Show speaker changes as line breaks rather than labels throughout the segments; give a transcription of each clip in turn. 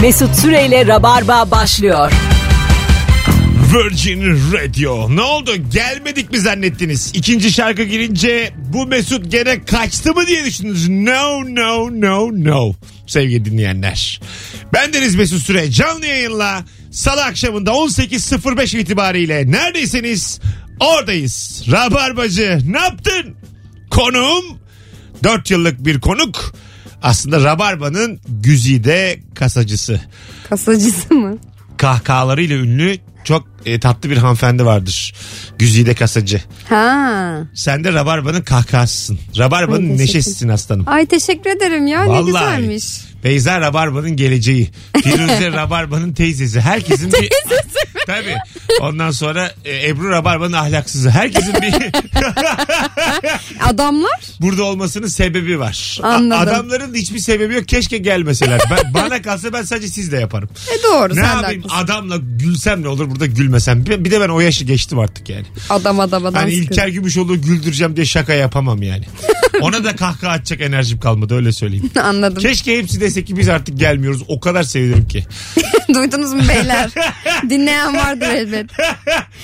Mesut Süreyle Rabarba başlıyor.
Virgin Radio. Ne oldu? Gelmedik mi zannettiniz? İkinci şarkı girince bu Mesut gene kaçtı mı diye düşündünüz. No, no, no, no. Sevgili dinleyenler. Ben Deniz Mesut Süre. Canlı yayınla salı akşamında 18.05 itibariyle neredeyseniz oradayız. Rabarbacı ne yaptın? Konuğum 4 yıllık bir konuk. Aslında Rabarba'nın güzide kasacısı
Kasacısı mı?
kahkahalarıyla ünlü çok e, tatlı bir hanımefendi vardır. Güzide Kasacı.
Ha.
Sen de Rabarba'nın kahkahasısın. Rabarba'nın
Ay, teşekkür.
neşesisin aslanım.
Ay teşekkür ederim ya ne
Vallahi.
güzelmiş.
Beyza Rabarba'nın geleceği. Firuze Rabarba'nın teyzesi. Herkesin bir... Tabii. Ondan sonra e, Ebru Rabarba'nın ahlaksızı. Herkesin bir
Adamlar?
burada olmasının sebebi var. A-
Anladım.
Adamların da hiçbir sebebi yok. Keşke gelmeseler. Ben, bana kalsa ben sadece sizle yaparım.
E doğru
ne
sen de
yapayım
haklısın.
adamla gülsem ne olur burada gülmesem. Bir, bir de ben o yaşı geçtim artık yani.
Adam adam adam.
Hani
sıkıntı.
İlker Gümüşoğlu'yu güldüreceğim diye şaka yapamam yani. Ona da kahkaha atacak enerjim kalmadı öyle söyleyeyim.
Anladım.
Keşke hepsi dese ki biz artık gelmiyoruz. O kadar sevinirim ki.
Duydunuz mu beyler? Dinleyen vardır elbet.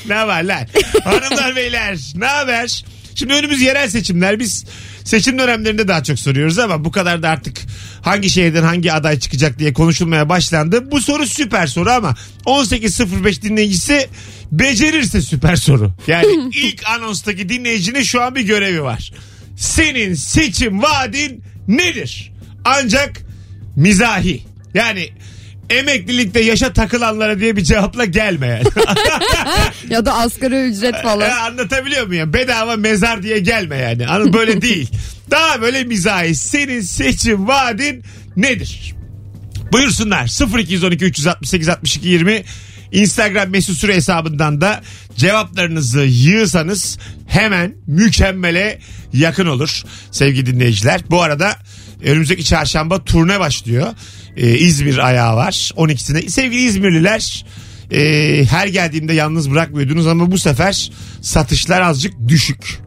ne var lan? Hanımlar beyler ne haber? Şimdi önümüz yerel seçimler. Biz seçim dönemlerinde daha çok soruyoruz ama bu kadar da artık hangi şehirden hangi aday çıkacak diye konuşulmaya başlandı. Bu soru süper soru ama 18.05 dinleyicisi becerirse süper soru. Yani ilk anonstaki dinleyicinin şu an bir görevi var. Senin seçim vaadin nedir? Ancak mizahi. Yani emeklilikte yaşa takılanlara diye bir cevapla gelme yani.
Ya da asgari ücret falan.
Ya E, anlatabiliyor muyum? ya? Bedava mezar diye gelme yani. Anı böyle değil. Daha böyle mizahi. Senin seçim vaadin nedir? Buyursunlar 0212 368 62 20 Instagram mesut süre hesabından da cevaplarınızı yığsanız hemen mükemmele yakın olur sevgili dinleyiciler. Bu arada önümüzdeki çarşamba turne başlıyor. Ee, İzmir ayağı var 12'sinde. Sevgili İzmirliler e, her geldiğimde yalnız bırakmıyordunuz ama bu sefer satışlar azıcık düşük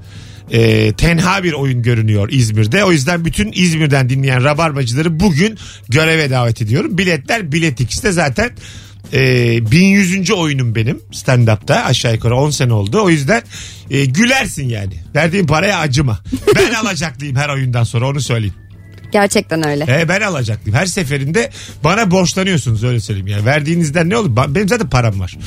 e, tenha bir oyun görünüyor İzmir'de. O yüzden bütün İzmir'den dinleyen rabarbacıları bugün göreve davet ediyorum. Biletler Bilet X'te zaten e, 1100. oyunum benim stand-up'ta aşağı yukarı 10 sene oldu. O yüzden e, gülersin yani. Verdiğim paraya acıma. Ben alacaklıyım her oyundan sonra onu söyleyeyim.
Gerçekten öyle.
E, ben alacaklıyım. Her seferinde bana borçlanıyorsunuz öyle söyleyeyim. Yani verdiğinizden ne olur? Ba- Benim zaten param var.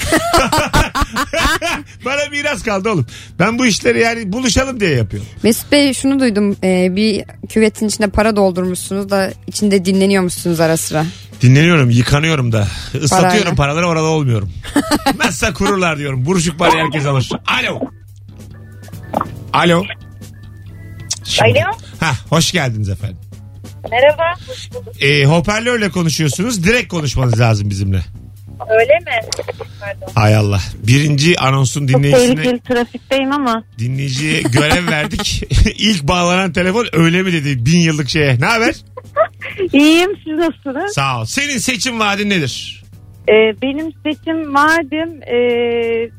bana miras kaldı oğlum. Ben bu işleri yani buluşalım diye yapıyorum.
Mesut Bey şunu duydum. Ee, bir küvetin içine para doldurmuşsunuz da içinde dinleniyormuşsunuz ara sıra.
Dinleniyorum, yıkanıyorum da. Islatıyorum
Parayla.
paraları orada olmuyorum. Nasılsa kururlar diyorum. Buruşuk parayı herkes alır. Alo. Alo. Şimdi-
Alo.
Hah, hoş geldiniz efendim.
Merhaba, hoş bulduk.
Ee, hoparlörle konuşuyorsunuz. Direkt konuşmanız lazım bizimle.
Öyle mi? Pardon.
Hay Allah. Birinci anonsun dinleyicisine
Tehlikeli trafikteyim ama.
dinleyiciye görev verdik. İlk bağlanan telefon öyle mi dedi bin yıllık şeye. Ne haber?
İyiyim, siz nasılsınız?
Sağ ol. Senin seçim vaadin nedir?
Ee, benim seçim madem ee,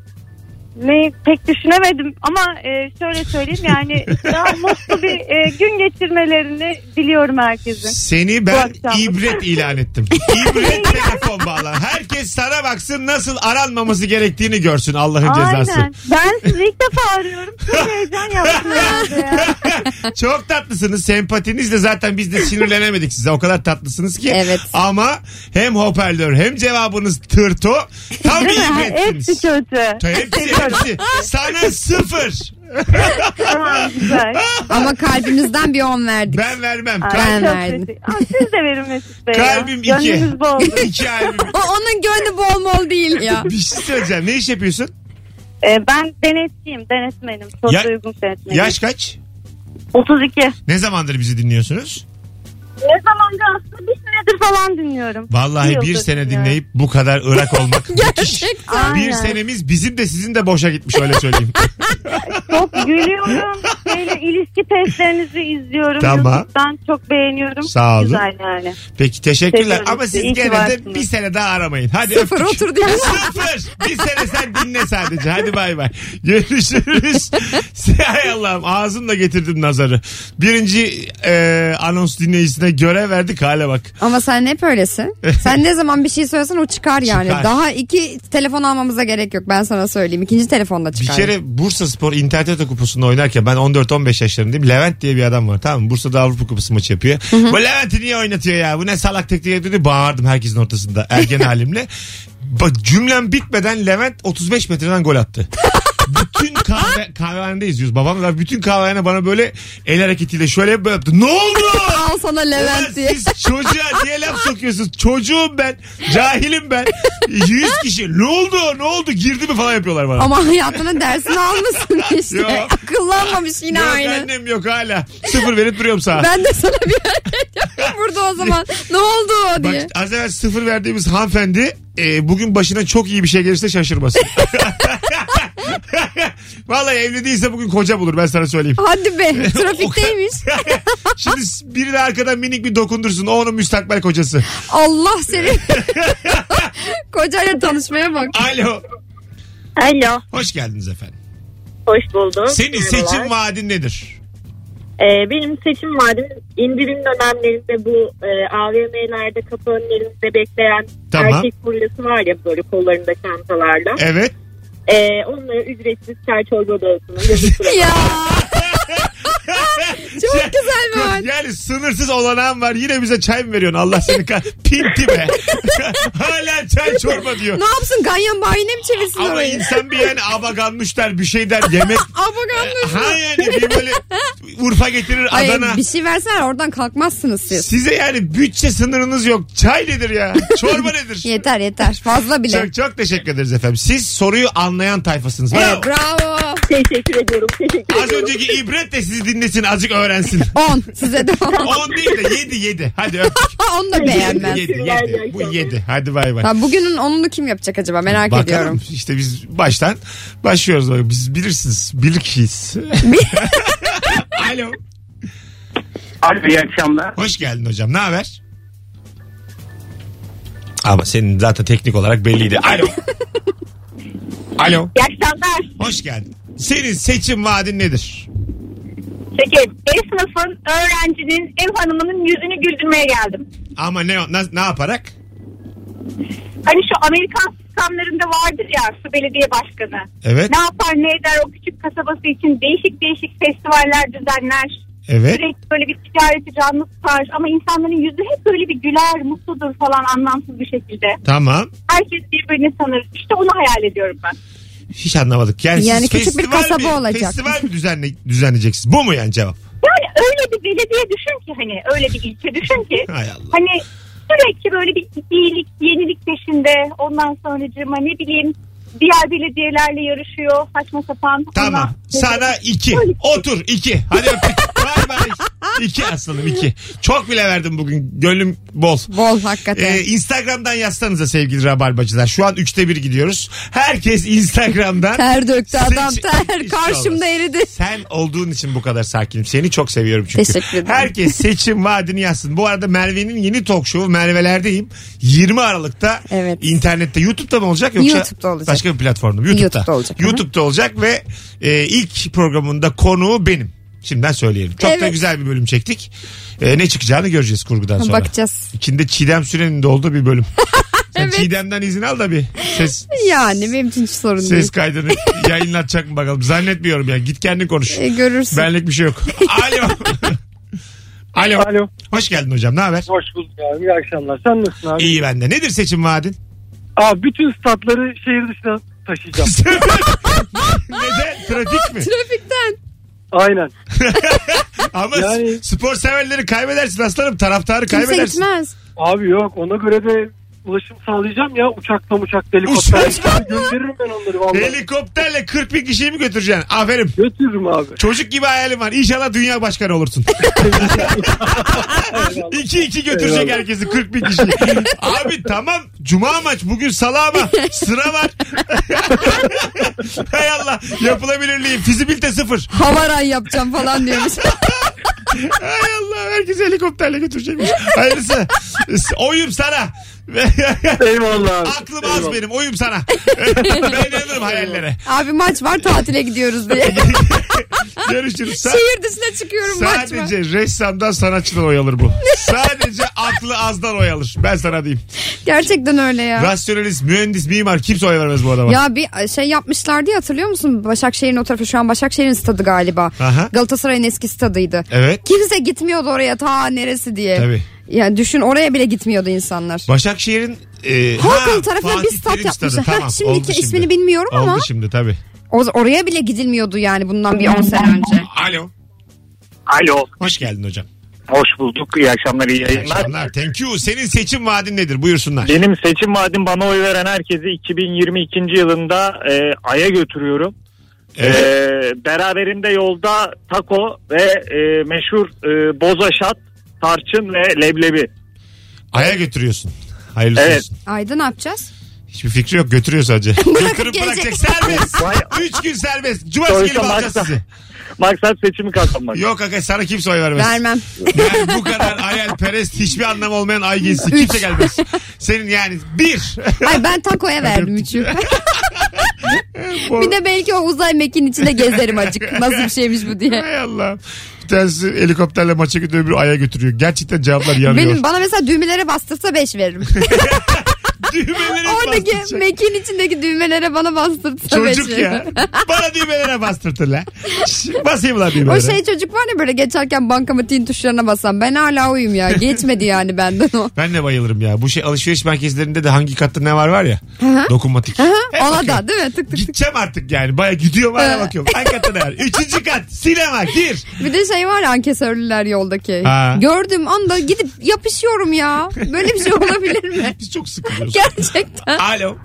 ne pek düşünemedim ama ee, şöyle söyleyeyim yani daha mutlu bir ee, gün geçirmelerini diliyorum herkesin.
Seni ben
Bu akşam.
ibret ilan ettim. İbret telefon bağlan. Herkes sana baksın nasıl aranmaması gerektiğini görsün Allah'ın cezası.
Aynen. Ben sizi ilk defa arıyorum. Çok heyecan yaptım herhalde ya.
Çok tatlısınız. Sempatinizle zaten biz de sinirlenemedik size. O kadar tatlısınız ki.
Evet.
Ama hem hoparlör hem cevabınız tırto. Tam bir
Değil mi?
ibretsiniz.
Hepsi kötü.
Hepsi hepsi. Sana sıfır.
Tamam güzel.
Ama kalbimizden bir on verdik.
Ben vermem.
Ay,
Kal-
Ben
çok
verdim.
kötü. Aa, Siz de verin Mesut Bey. ya.
Kalbim iki.
Gönlünüz bol.
İki albüm.
O onun gönlü bol bol değil ya.
Bir şey söyleyeceğim. Ne iş yapıyorsun?
Ee, ben denetçiyim, denetmenim. Çok
Ya-
uygun denetmenim.
Yaş kaç?
32.
Ne zamandır bizi dinliyorsunuz?
Ne zamandır aslında bir senedir falan dinliyorum.
Vallahi bir
yıldır
sene
dinliyorum.
dinleyip bu kadar ırak olmak müthiş.
Gerçekten.
Bir
Aynen.
senemiz bizim de sizin de boşa gitmiş öyle söyleyeyim.
Çok gülüyorum. Böyle ilişki testlerinizi izliyorum.
Tamam.
YouTube'dan çok beğeniyorum.
Sağ olun.
Güzel yani.
Peki teşekkürler
Seviyorum
ama
sizi.
siz
İyi ki
gene de
varsınız.
bir sene daha aramayın. Hadi
Sıfır
öptük.
otur diyor.
Sıfır. Bir sene sen dinle sadece. Hadi bay bay. Görüşürüz. Hay Allah'ım ağzımla getirdim nazarı. Birinci e, anons dinleyicisine sana görev verdik hale bak.
Ama sen hep öylesin. Sen ne zaman bir şey söylesen o çıkar yani.
Çıkar.
Daha iki telefon almamıza gerek yok ben sana söyleyeyim. İkinci telefonda
Bir
çıkar.
kere Bursa Spor İnternet Kupası'nda oynarken ben 14-15 yaşlarındayım. Levent diye bir adam var tamam mı? Bursa'da Avrupa Kupası maçı yapıyor. Bu Levent'i niye oynatıyor ya? Bu ne salak tekniği dedi bağırdım herkesin ortasında ergen halimle. Bak cümlem bitmeden Levent 35 metreden gol attı. bütün kahve, kahvehanede izliyoruz. Babam da bütün kahvehane bana böyle el hareketiyle şöyle böyle yaptı. Ne oldu?
Al sana
Ulan
Levent diye.
siz çocuğa niye laf sokuyorsunuz? Çocuğum ben. Cahilim ben. 100 kişi. Ne oldu? Ne oldu? Girdi mi falan yapıyorlar bana.
Ama hayatının dersini almasın işte.
Yok.
Akıllanmamış yine
yok
aynı.
annem yok hala. Sıfır verip duruyorum sana.
Ben de sana bir hareket yapayım burada o zaman. Ne oldu o diye.
Bak az evvel sıfır verdiğimiz hanımefendi e, bugün başına çok iyi bir şey gelirse şaşırmasın. Vallahi evli değilse bugün koca bulur ben sana söyleyeyim.
Hadi be trafikteymiş.
Şimdi biri de arkadan minik bir dokundursun o onun müstakbel kocası.
Allah seni. Kocayla tanışmaya bak.
Alo.
Alo.
Hoş geldiniz efendim.
Hoş bulduk.
Senin
Merhabalar.
seçim vaadin nedir?
Ee, benim seçim vaadim indirim dönemlerinde bu e, AVM'lerde kapı önlerinde bekleyen
Tamam.
erkek kuryesi var ya böyle kollarında çantalarla.
Evet. E-
Ee, onlara ücretsiz çay çorba dağıtımı yazıklar.
Ya. Çok güzel bir an.
Yani sınırsız olanağın var. Yine bize çay mı veriyorsun? Allah seni kah... Pinti be. Hala çay çorba diyor.
Ne yapsın ganyan bayine mi çevirsin
Ama
orayı?
insan bir yani abaganmış der bir şey der yemek.
Abaganmış mı?
ha yani bir böyle Urfa getirir
Ay,
Adana.
bir şey versen oradan kalkmazsınız siz.
Size yani bütçe sınırınız yok. Çay nedir ya? Çorba nedir?
Yeter yeter fazla bile.
çok, çok teşekkür ederiz efendim. Siz soruyu anlayan tayfasınız. Bravo.
Evet bravo.
Teşekkür ediyorum. Teşekkür
Az
ediyorum.
önceki ibret de sizi dinlesin azıcık öğrensin.
10 size de 10.
10 değil de 7 7. Hadi öptük.
Onu da beğenmez.
7 7. Bu 7. Hadi bay bay.
Ha, bugünün onunu kim yapacak acaba merak
Bakalım
ediyorum.
işte biz baştan başlıyoruz. Bak Biz bilirsiniz. Bilkiyiz. Alo.
Abi iyi akşamlar.
Hoş geldin hocam. Ne haber? Ama senin zaten teknik olarak belliydi. Alo. Alo.
İyi akşamlar.
Hoş geldin. Senin seçim vaadin nedir?
Peki B sınıfın öğrencinin ev hanımının yüzünü güldürmeye geldim.
Ama ne na- ne yaparak?
Hani şu Amerikan sistemlerinde vardır ya şu belediye başkanı.
Evet.
Ne yapar ne eder o küçük kasabası için değişik değişik festivaller düzenler.
Evet.
Sürekli böyle bir ticareti canlı tutar ama insanların yüzü hep böyle bir güler, mutludur falan anlamsız bir şekilde.
Tamam.
Herkes birbirini sanır. İşte onu hayal ediyorum ben.
Hiç anlamadık. Yani,
Yani
siz
küçük bir
festival
kasaba
mi-
olacak.
Festival mi düzenle, düzenleyeceksiniz? Bu mu yani cevap?
Yani öyle bir belediye düşün ki hani öyle bir ilçe düşün ki.
Hay Allah.
Hani sürekli böyle bir iyilik, yenilik peşinde. Ondan sonracığıma ne bileyim diğer belediyelerle yarışıyor saçma sapan.
Tamam.
Ondan-
Sana iki.
Öyle.
Otur iki. Hadi öptük. Bay bay. İki aslanım iki. Çok bile verdim bugün. Gönlüm bol.
Bol hakikaten.
Ee, Instagram'dan yazsanıza sevgili rabarbacılar. Şu an üçte bir gidiyoruz. Herkes Instagram'dan.
ter döktü adam
Seç-
ter.
Hiç
Karşımda
olmaz.
eridi.
Sen olduğun için bu kadar sakinim. Seni çok seviyorum çünkü.
Teşekkür ederim.
Herkes seçim vaadini yazsın. Bu arada Merve'nin yeni talk show'u Merve'lerdeyim. 20 Aralık'ta
Evet.
internette YouTube'da mı olacak yoksa
YouTube'da olacak.
başka bir platformda mı? YouTube'da.
YouTube'da olacak.
YouTube'da olacak ve e, ilk programında konuğu benim. Şimdiden söyleyelim. Çok da
Evet.
güzel bir bölüm çektik. E, ne çıkacağını göreceğiz kurgudan sonra.
Bakacağız.
İçinde Çiğdem Süren'in de olduğu bir bölüm. Sen Çiğdem'den izin al da bir ses
Yani benim için hiç sorun
ses
değil.
kaydını yayınlatacak mı bakalım. Zannetmiyorum ya. Git kendin konuş.
E, görürsün.
Benlik bir şey yok. Alo. Alo.
Alo.
Hoş geldin hocam. Ne haber?
Hoş bulduk abi. İyi akşamlar. Sen nasılsın abi?
İyi bende. Nedir seçim vaadin?
Abi bütün statları şehir dışına taşıyacağım.
Neden? Trafik mi?
Trafikten.
Aynen.
Ama
Yani-
s- spor severleri kaybedersin aslanım. Taraftarı
Kimse
kaybedersin.
gitmez.
Abi yok ona göre de ulaşım sağlayacağım ya uçakla uçakla helikopterle. Gönderirim ben onları vallahi.
Helikopterle 40 bin kişiyi mi götüreceksin? Aferin.
Götürürüm abi.
Çocuk gibi hayalim var. İnşallah dünya başkanı olursun. iki iki götürecek
Eyvallah.
herkesi 40 bin kişi. Abi tamam cuma maç bugün salı ama sıra var. Hay Allah yapılabilirliği fizibilite sıfır.
Havaray yapacağım falan diyormuş.
Hay Allah herkes helikopterle götürecekmiş. Hayırlısı. Oyum sana.
Eyvallah abi.
Aklım az
Eyvallah.
benim. Oyum sana. ben inanırım hayallere.
Abi maç var tatile gidiyoruz diye.
Görüşürüz. Sa-
Şehir dışına çıkıyorum maç var.
sadece ressamdan sanatçıdan oy alır bu. Sadece aklı azdan oy alır. Ben sana diyeyim.
Gerçekten öyle ya.
Rasyonelist, mühendis, mimar kimse oy vermez bu adama.
Ya bir şey yapmışlardı ya hatırlıyor musun? Başakşehir'in o tarafı şu an Başakşehir'in stadı galiba.
Aha.
Galatasaray'ın eski stadıydı.
Evet.
Kimse gitmiyordu oraya ta neresi diye.
Tabii.
Yani düşün oraya bile gitmiyordu insanlar.
Başakşehir'in e,
Halkalı
ha,
tarafına bir
Fatih
stat
Terim
yapmışlar.
stadı.
Ha,
Tamam,
şimdiki
oldu şimdi.
ismini bilmiyorum ama.
Oldu şimdi tabii.
O- oraya bile gidilmiyordu yani bundan bir 10 sene önce.
Alo.
Alo.
Hoş geldin hocam.
Hoş bulduk. İyi akşamlar, iyi
İyi
yayınlar.
akşamlar. Thank you. Senin seçim vaadin nedir? Buyursunlar.
Benim seçim vaadim bana oy veren herkesi 2022. yılında e, Ay'a götürüyorum.
Evet.
E, beraberinde yolda taco ve e, meşhur e, bozaşat, tarçın ve leblebi.
Aya götürüyorsun. Hayırlısı
Evet.
olsun.
Ayda ne yapacağız?
Hiçbir fikri yok. Götürüyor sadece. Götürüp
gelecek.
bırakacak. Serbest.
Vay-
Üç gün serbest. Cumartesi
Sonuçta
gelip alacağız
maksat-
sizi.
Maksat seçimi kazanmak.
Yok aga sana kimse oy vermez.
Vermem.
Yani bu kadar hayalperest hiçbir anlamı olmayan ay gezisi kimse gelmez. Senin yani bir.
Ay ben takoya verdim üçü.
Bu-
bir de belki o uzay mekiğin içinde gezerim acık. Nasıl bir şeymiş bu diye.
Hay Allah. Bir tanesi helikopterle maça gidiyor öbürü aya götürüyor. Gerçekten cevaplar yanıyor.
Benim bana mesela düğmelere bastırsa 5 veririm.
Düğmeleri
Oradaki
bastıracak.
mekiğin içindeki düğmelere bana bastırsa 5
Çocuk
veririm.
ya. Bana düğmelere bastırtırlar. Şş, Basayım lan düğmelere.
O şey çocuk var ya böyle geçerken bankamatiğin tuşlarına basan. Ben hala oyum ya. Geçmedi yani benden o.
Ben de bayılırım ya. Bu şey alışveriş merkezlerinde de hangi katta ne var var ya. Dokunmatik. Hep
Ona
bakıyorum.
da değil mi? Tık tık.
Gideceğim artık yani. Baya gidiyorum hala
Ee.
bakıyorum. Hangi katta ne var? Üçüncü kat. Sinema gir.
Bir de şey var ya ankesörlüler yoldaki.
Ha.
Gördüğüm anda gidip yapışıyorum ya. Böyle bir şey olabilir mi?
Biz çok sıkılıyoruz.
Gerçekten.
Alo.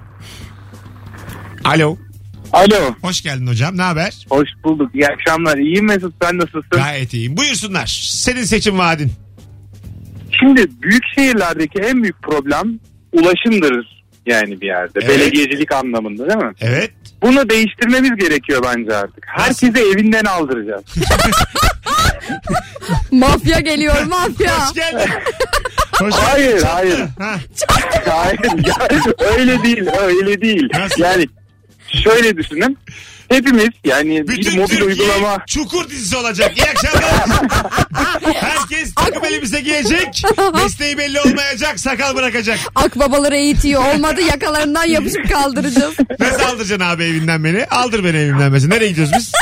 Alo.
Alo.
Hoş geldin hocam. Ne haber?
Hoş bulduk. İyi akşamlar. İyi Mesut sen nasılsın?
Gayet iyiyim. Buyursunlar. Senin seçim vaadin.
Şimdi büyük şehirlerdeki en büyük problem ulaşımdır yani bir yerde.
Evet.
Belediyecilik anlamında değil mi?
Evet.
Bunu değiştirmemiz gerekiyor bence artık. Herkese evinden aldıracağız.
mafya geliyor mafya.
Hoş geldin. Hoş geldin.
Hayır hayır.
Ha,
hayır. Yani öyle değil öyle değil.
Nasıl?
Yani şöyle düşünün. Hepimiz yani bir
bütün
mobil
Türkiye
uygulama
çukur dizisi olacak. İyi akşamlar. Herkes takım elbise giyecek. Mesleği belli olmayacak. Sakal bırakacak.
Akbabaları eğitiyor. Olmadı yakalarından yapışıp kaldıracağız.
Nasıl aldıracaksın abi evinden beni? Aldır beni evimden mesela. Nereye gidiyoruz biz?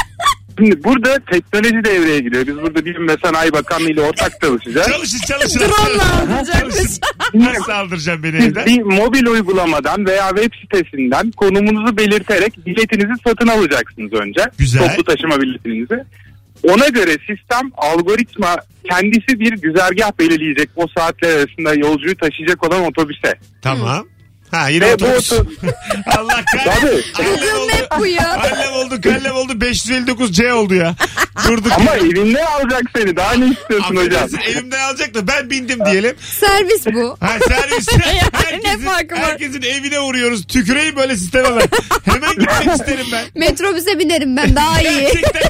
Şimdi burada teknoloji devreye giriyor. Biz burada Bilim ve Sanayi Bakanlığı ile ortak çalışacağız.
Çalışın çalışın.
Drone'la
Çalışın. Nasıl aldıracaksın beni
Siz
evden?
bir mobil uygulamadan veya web sitesinden konumunuzu belirterek biletinizi satın alacaksınız önce.
Güzel.
Toplu taşıma biletinizi. Ona göre sistem algoritma kendisi bir güzergah belirleyecek o saatler arasında yolcuyu taşıyacak olan otobüse.
Tamam. Ha yine
Hmm. Ve bu
otobüs.
otobüs-
Allah kahretsin.
Tabii.
Annem
Bugün
oldu.
hep bu ya.
Annem oldu, kallem oldu. 559C oldu ya. Durduk.
Ama evinden alacak seni daha ne istiyorsun hocam?
Affedersin evimden alacak da ben bindim diyelim.
Servis bu.
Ha serviste
ne farkı
herkesin,
var?
herkesin evine uğruyoruz. Tüküreyim böyle sisteme ben. Hemen gitmek isterim ben.
Metrobüse binerim ben daha iyi.
Gerçekten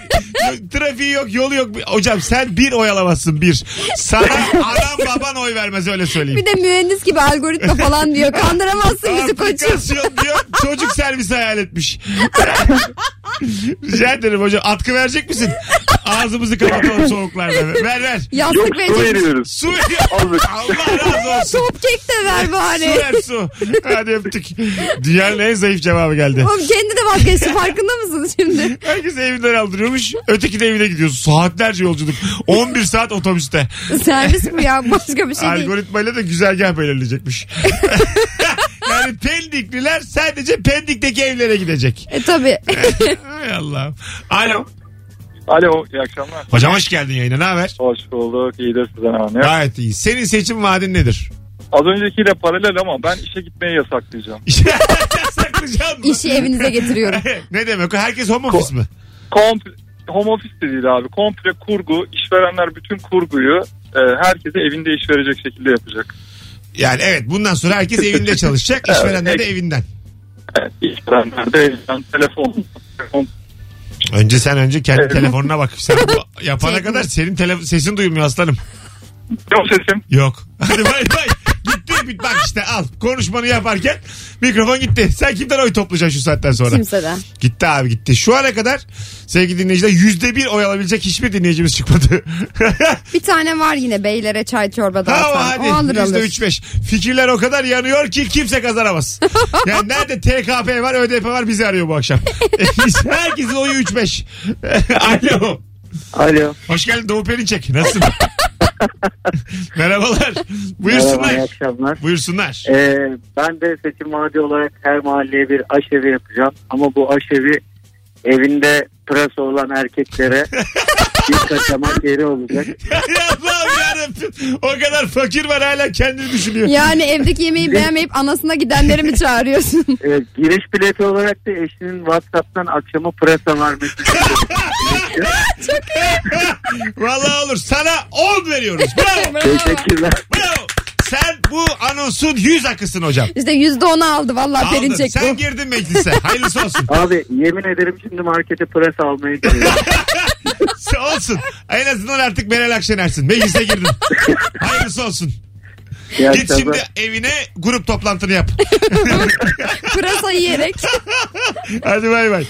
yok, trafiği yok yolu yok. Hocam sen bir oy alamazsın bir. Sana anam baban oy vermez öyle söyleyeyim.
Bir de mühendis gibi algoritma falan diyor. Kandıramazsın bizi koçum.
Aplikasyon diyor çocuk servisi hayal etmiş. Rica ederim hocam atkı verecek misin? Ağzımızı kapatalım soğuklarda. Ver ver.
Yok
Yastık
su
verecek.
veriyoruz.
Su Allah razı olsun.
Top kek de ver
Su
bari.
ver su. Hadi öptük. Dünyanın en zayıf cevabı geldi.
Oğlum kendi de vazgeçti farkında mısın şimdi?
Herkes evinden aldırıyormuş. Öteki de evine gidiyoruz. Saatlerce yolculuk. 11 saat otobüste.
Servis bu ya başka bir şey değil.
Algoritmayla da güzergah belirleyecekmiş. yani pendikliler sadece pendikteki evlere gidecek.
E tabi.
Hay Allah'ım. Alo.
Alo iyi akşamlar.
Hocam hoş geldin yayına. Ne haber?
Hoş bulduk. İyidir size ne var ne yok?
Gayet iyi. Senin seçim vaadin nedir?
Az öncekiyle paralel ama ben işe gitmeyi yasaklayacağım.
Saklayacağım mı?
İşi evinize getiriyorum.
ne demek? o? Herkes home office mi?
komple home office de değil abi. Komple kurgu, işverenler bütün kurguyu e, herkese evinde iş verecek şekilde yapacak.
Yani evet bundan sonra herkes evinde çalışacak. İşverenler de
Evet.
evinden.
Evet, işverenler de evinden telefon. telefon-
Önce sen önce kendi telefonuna bak. Sen bu yapana
Şey-
kadar senin tele- sesin duymuyor aslanım.
Yok sesim.
Yok. Hadi bay bay. Gitti. hep bak işte al konuşmanı yaparken mikrofon gitti. Sen kimden oy toplayacaksın şu saatten sonra?
Kimseden.
Gitti abi gitti. Şu ana kadar sevgili dinleyiciler yüzde bir oy alabilecek hiçbir dinleyicimiz çıkmadı.
Bir tane var yine beylere çay çorba
Ama
dağıtan.
hadi
O alır
yüzde
alır.
üç beş. Fikirler o kadar yanıyor ki kimse kazanamaz. yani nerede TKP var ÖDP var bizi arıyor bu akşam. Herkesin oyu üç beş. Alo.
Alo.
Hoş geldin Doğu Perinçek. Nasılsın? Merhabalar. Buyursunlar.
Merhaba, iyi akşamlar.
Buyursunlar.
Ee, ben de seçim vaadi olarak her mahalleye bir aşevi yapacağım. Ama bu aşevi evinde pırasa olan erkeklere bir kaçamak yeri olacak.
Allah'ım yarabbim. O kadar fakir var hala kendini düşünüyor.
Yani evdeki yemeği beğenmeyip anasına gidenleri mi çağırıyorsun?
Ee, giriş bileti olarak da eşinin Whatsapp'tan akşama pırasa vermesi.
Vallahi olur. Sana 10 veriyoruz. Bravo.
Teşekkürler.
Bravo. Sen bu anonsun yüz akısın hocam.
İşte yüzde onu aldı vallahi
Aldın.
Perinçek
Sen
bu.
girdin meclise. Hayırlısı olsun.
Abi yemin ederim şimdi markete pırasa almaya gidiyorum.
olsun. En azından artık Meral Akşener'sin. Meclise girdin. Hayırlısı olsun.
İyi
Git
akşamlar.
şimdi evine grup toplantını yap.
Pırasa yiyerek.
Hadi bay bay.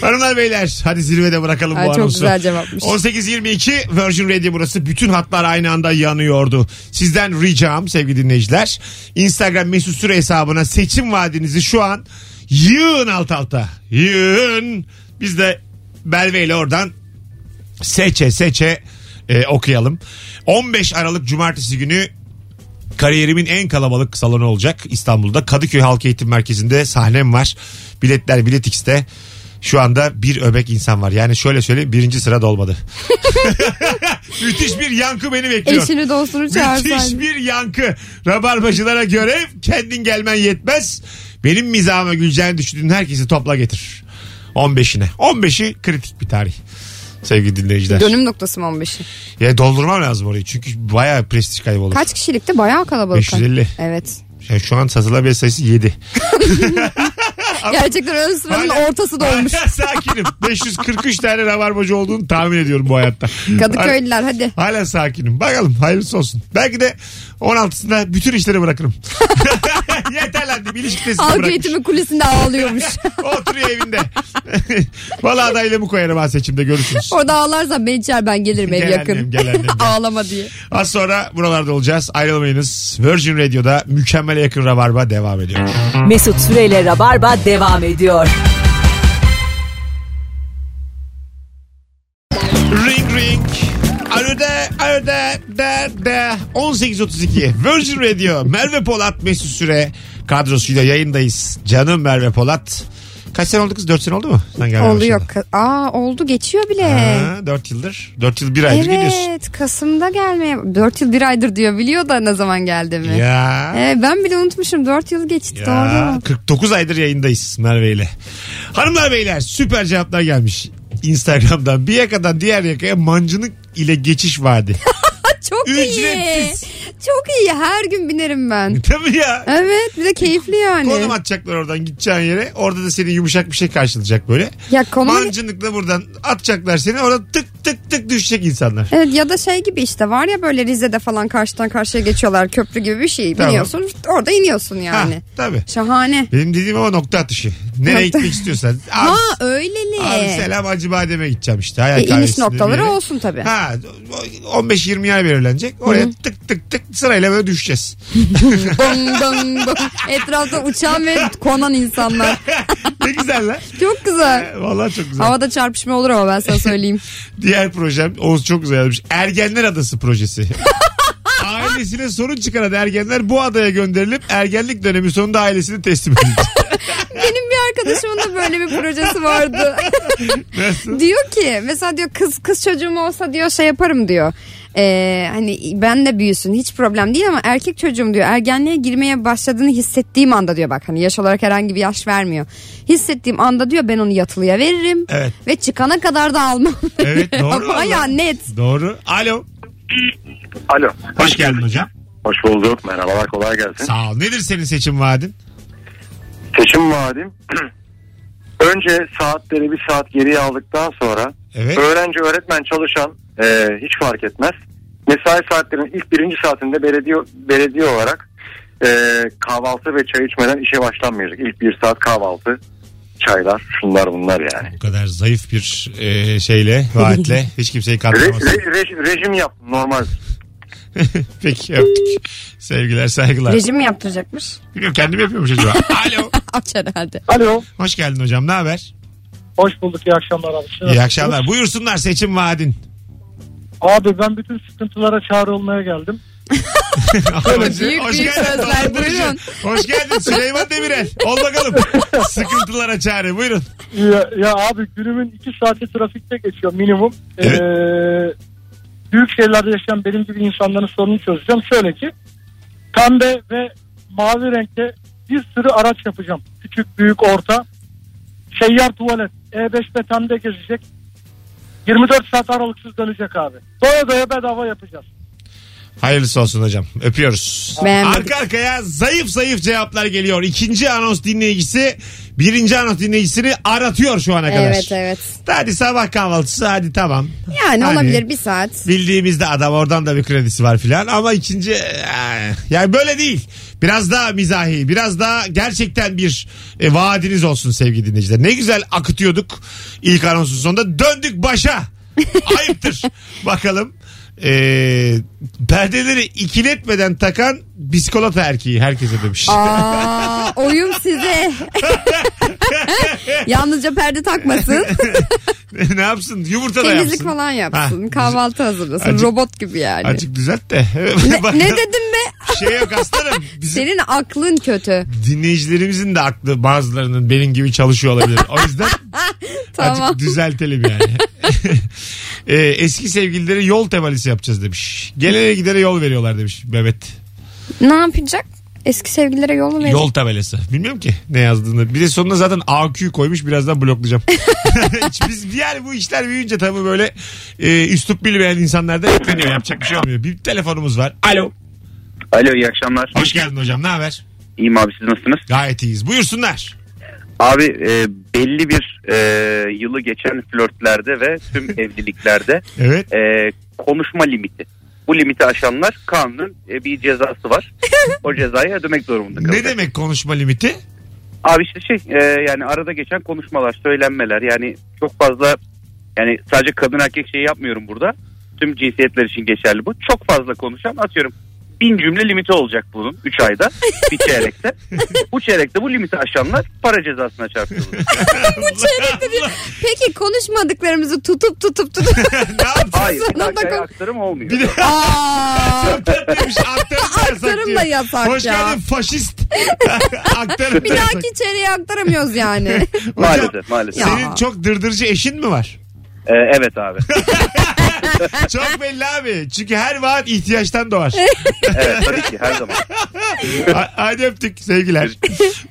Hanımlar beyler hadi zirvede bırakalım
Ay,
bu
çok
anonsu.
güzel cevapmış.
18.22 Virgin Radio burası. Bütün hatlar aynı anda yanıyordu. Sizden ricam sevgili dinleyiciler. Instagram mesut süre hesabına seçim vaadinizi şu an yığın alt alta. Yığın. Biz de Belve ile oradan seçe seçe e, okuyalım. 15 Aralık Cumartesi günü Kariyerimin en kalabalık salonu olacak İstanbul'da. Kadıköy Halk Eğitim Merkezi'nde sahnem var. Biletler Bilet X'te. Şu anda bir öbek insan var. Yani şöyle söyleyeyim birinci sırada olmadı. Müthiş bir yankı beni bekliyor.
Eşini dostunu
Müthiş
çağırsaydın.
bir yankı. Rabarbacılara göre kendin gelmen yetmez. Benim mizahıma güleceğini düşündüğün herkesi topla getir. 15'ine. 15'i kritik bir tarih. Sevgili dinleyiciler.
Dönüm noktası mı 15'i?
Ya doldurmam lazım orayı. Çünkü bayağı prestij kaybolur.
Kaç kişilikti? Bayağı kalabalık.
550.
Evet.
Yani E, şu an satılabilen sayısı 7.
Gerçekten ön sıranın ortası dolmuş.
Hala sakinim. 543 tane rabarbacı olduğunu tahmin ediyorum bu hayatta.
Kadıköylüler hadi.
Hala, hala sakinim. Bakalım hayırlısı olsun. Belki de 16'sında bütün işleri bırakırım. Yeter lan diyeyim. İlişki testini
Halk
bırakmış.
eğitimi kulesinde ağlıyormuş.
Oturuyor evinde. Valla adaylığımı koyarım ha seçimde görüşürüz.
Orada ağlarsan beni çağır ben gelirim ev
Gel annem,
yakın.
gel annem, gel.
Ağlama diye.
Az sonra buralarda olacağız. Ayrılmayınız. Virgin Radio'da mükemmele yakın rabarba devam ediyor.
Mesut Süreyle Rabarba devam ediyor.
Ring ring. Arada arada da da 18.32 Virgin Radio Merve Polat Mesut Süre kadrosuyla yayındayız. Canım Merve Polat. Kaç sene oldu kız? 4 sene oldu mu? Sen gelmeye
Oldu yok.
başladın.
Aa oldu geçiyor bile.
Ha, 4 yıldır. 4 yıl 1 aydır gidiyorsun.
Evet Kasım'da gelmeye 4 yıl 1 aydır diyor biliyor da ne zaman geldi mi?
Ya.
Ee, ben bile unutmuşum 4 yıl geçti
Ya,
doğru.
49 aydır yayındayız Merve ile. Hanımlar beyler süper cevaplar gelmiş. Instagram'dan bir yakadan diğer yakaya mancınık ile geçiş vardı.
Çok iyi.
Ücretsiz.
Çok iyi her gün binerim ben.
Tabii ya.
Evet bir de keyifli yani.
Konum atacaklar oradan gideceğin yere. Orada da seni yumuşak bir şey karşılayacak böyle.
Ya konum
Mancınıkla buradan atacaklar seni. Orada tık tık tık düşecek insanlar.
Evet ya da şey gibi işte var ya böyle Rize'de falan karşıdan karşıya geçiyorlar köprü gibi bir şey.
Tamam.
Biniyorsun orada iniyorsun yani.
Ha, tabii.
Şahane.
Benim dediğim ama nokta atışı. Nereye
Nokta-
gitmek istiyorsan. Abi,
Ha öyleli.
abi selam Hacı Badem'e gideceğim işte. Hayal
E, iniş
kahvesinde bir
noktaları
yere.
olsun tabii.
Ha 15-20 yer belirlenecek. Oraya tık tık tık sırayla böyle düşeceğiz.
Dong dong dong. Etrafta uçan ve konan insanlar.
ne güzel lan.
Çok güzel.
Vallahi çok güzel.
Havada çarpışma olur ama ben sana söyleyeyim.
Diğer projem Oğuz çok güzel yazmış. Ergenler Adası projesi. Ailesine sorun çıkaran ergenler bu adaya gönderilip ergenlik dönemi sonunda ailesini teslim edecek.
Benim bir arkadaşımın da böyle bir projesi vardı.
Nasıl?
diyor ki mesela diyor kız kız çocuğum olsa diyor şey yaparım diyor. Ee, hani ben de büyüsün hiç problem değil ama erkek çocuğum diyor ergenliğe girmeye başladığını hissettiğim anda diyor bak hani yaş olarak herhangi bir yaş vermiyor. Hissettiğim anda diyor ben onu yatılıya veririm
Evet.
ve çıkana kadar da almam.
Evet, doğru
Baya
vallahi.
net.
Doğru. Alo.
Alo.
Hoş geldin hocam.
Hoş bulduk. Merhabalar. Kolay gelsin.
Sağ ol. Nedir senin seçim vaadin?
Seçim vaadim. Önce saatleri bir saat geriye aldıktan sonra
Evet.
öğrenci öğretmen çalışan e, hiç fark etmez.
Mesai saatlerinin ilk birinci saatinde belediye, belediye olarak e, kahvaltı ve çay içmeden işe başlanmayacak. İlk bir saat kahvaltı, çaylar, şunlar bunlar yani.
Bu kadar zayıf bir e, şeyle, vaatle hiç kimseyi
Re,
kandıramazsın.
re- rejim, rejim yap normal.
Peki öptük. Sevgiler, saygılar.
Rejim mi yaptıracakmış?
Bilmiyorum kendim yapıyormuş acaba. Alo.
Aç herhalde.
Alo.
Hoş geldin hocam. Ne haber?
Hoş bulduk. iyi akşamlar abi. Siz
İyi
nasılsınız?
akşamlar. Buyursunlar seçim vaadin.
Abi ben bütün sıkıntılara çare olmaya geldim.
büyük büyük sözler,
Dolandırıcı.
buyurun.
Hoş geldin Süleyman Demirel. Ol bakalım. Sıkıntılara çare. Buyurun.
Ya, ya abi günümün iki saati trafikte geçiyor minimum.
Evet.
Ee, büyük şehirlerde yaşayan benim gibi insanların sorununu çözeceğim. Şöyle ki pembe ve mavi renkte bir sürü araç yapacağım. Küçük, büyük, orta. Seyyar tuvalet. E E5 betonda gezecek. 24 saat aralıksız dönecek abi. Doya doya bedava yapacağız.
Hayırlısı olsun hocam. Öpüyoruz.
Beğenmedik.
Arka arkaya zayıf zayıf cevaplar geliyor. İkinci anons dinleyicisi birinci anons dinleyicisini aratıyor şu ana kadar.
Evet evet.
Hadi sabah kahvaltısı hadi tamam.
Yani
Hani-
olabilir bir saat.
Bildiğimizde adam oradan da bir kredisi var filan ama ikinci eh, yani böyle değil. Biraz daha mizahi, biraz daha gerçekten bir e, vaadiniz olsun sevgili dinleyiciler. Ne güzel akıtıyorduk ilk anonsun sonunda. Döndük başa. Ayıptır. Bakalım. E, perdeleri ikiletmeden takan biskolata erkeği herkese demiş.
Aa, oyun size. Yalnızca perde takmasın.
ne yapsın? Yumurta da
temizlik
yapsın.
falan yapsın.
Ha,
kahvaltı hazırlasın.
Acık-
robot gibi yani.
Azıcık düzelt de.
Ne,
Bak-
ne dedim be?
Şey yok aslanım. Bizim
Senin aklın kötü.
dinleyicilerimizin de aklı bazılarının benim gibi çalışıyor olabilir. O yüzden
Tamam.
Azıcık düzeltelim yani. Ee, eski sevgilileri yol temalisi yapacağız demiş. Gelene gidere yol veriyorlar demiş Mehmet.
Ne yapacak? Eski sevgililere yol mu verecek?
Yol tabelası. Bilmiyorum ki ne yazdığını. Bir de sonuna zaten AQ koymuş birazdan bloklayacağım. Hiç Biz yani bu işler büyüyünce tabii böyle e, üslup bilmeyen insanlarda etkileniyor. Yapacak bir şey olmuyor. Bir telefonumuz var. Alo.
Alo iyi akşamlar.
Hoş geldin hocam ne haber?
İyiyim abi siz nasılsınız?
Gayet iyiyiz. Buyursunlar.
Abi e, belli bir e, yılı geçen flörtlerde ve tüm evliliklerde
Evet.
e, konuşma limiti. Bu limiti aşanlar kanunun e, bir cezası var. O cezayı ödemek zorunda kalıyor.
Ne demek konuşma limiti?
Abi işte şey e, yani arada geçen konuşmalar, söylenmeler yani çok fazla yani sadece kadın erkek şeyi yapmıyorum burada. Tüm cinsiyetler için geçerli bu. Çok fazla konuşan atıyorum bin cümle limiti olacak bunun 3 ayda bir çeyrekte. bu çeyrekte bu limiti aşanlar para cezasına çarptırılır.
Peki konuşmadıklarımızı tutup tutup tutup.
ne yaptın?
Hayır bir
Sana
dakikaya
bakın.
aktarım olmuyor.
Bir de
Aa,
Tatlıymış. Aktarım da yasak
Aktarım
diyor.
da yasak
Hoş
ya.
geldin faşist. Aktarım
bir
da yasak.
dahaki içeriye aktaramıyoruz yani.
Hocam,
Maalesef maalesef.
Ya.
Senin çok dırdırcı eşin mi var?
E, evet abi.
Çok belli abi. Çünkü her vaat ihtiyaçtan doğar.
Evet tabii ki her zaman.
Ha- Hadi öptük sevgiler.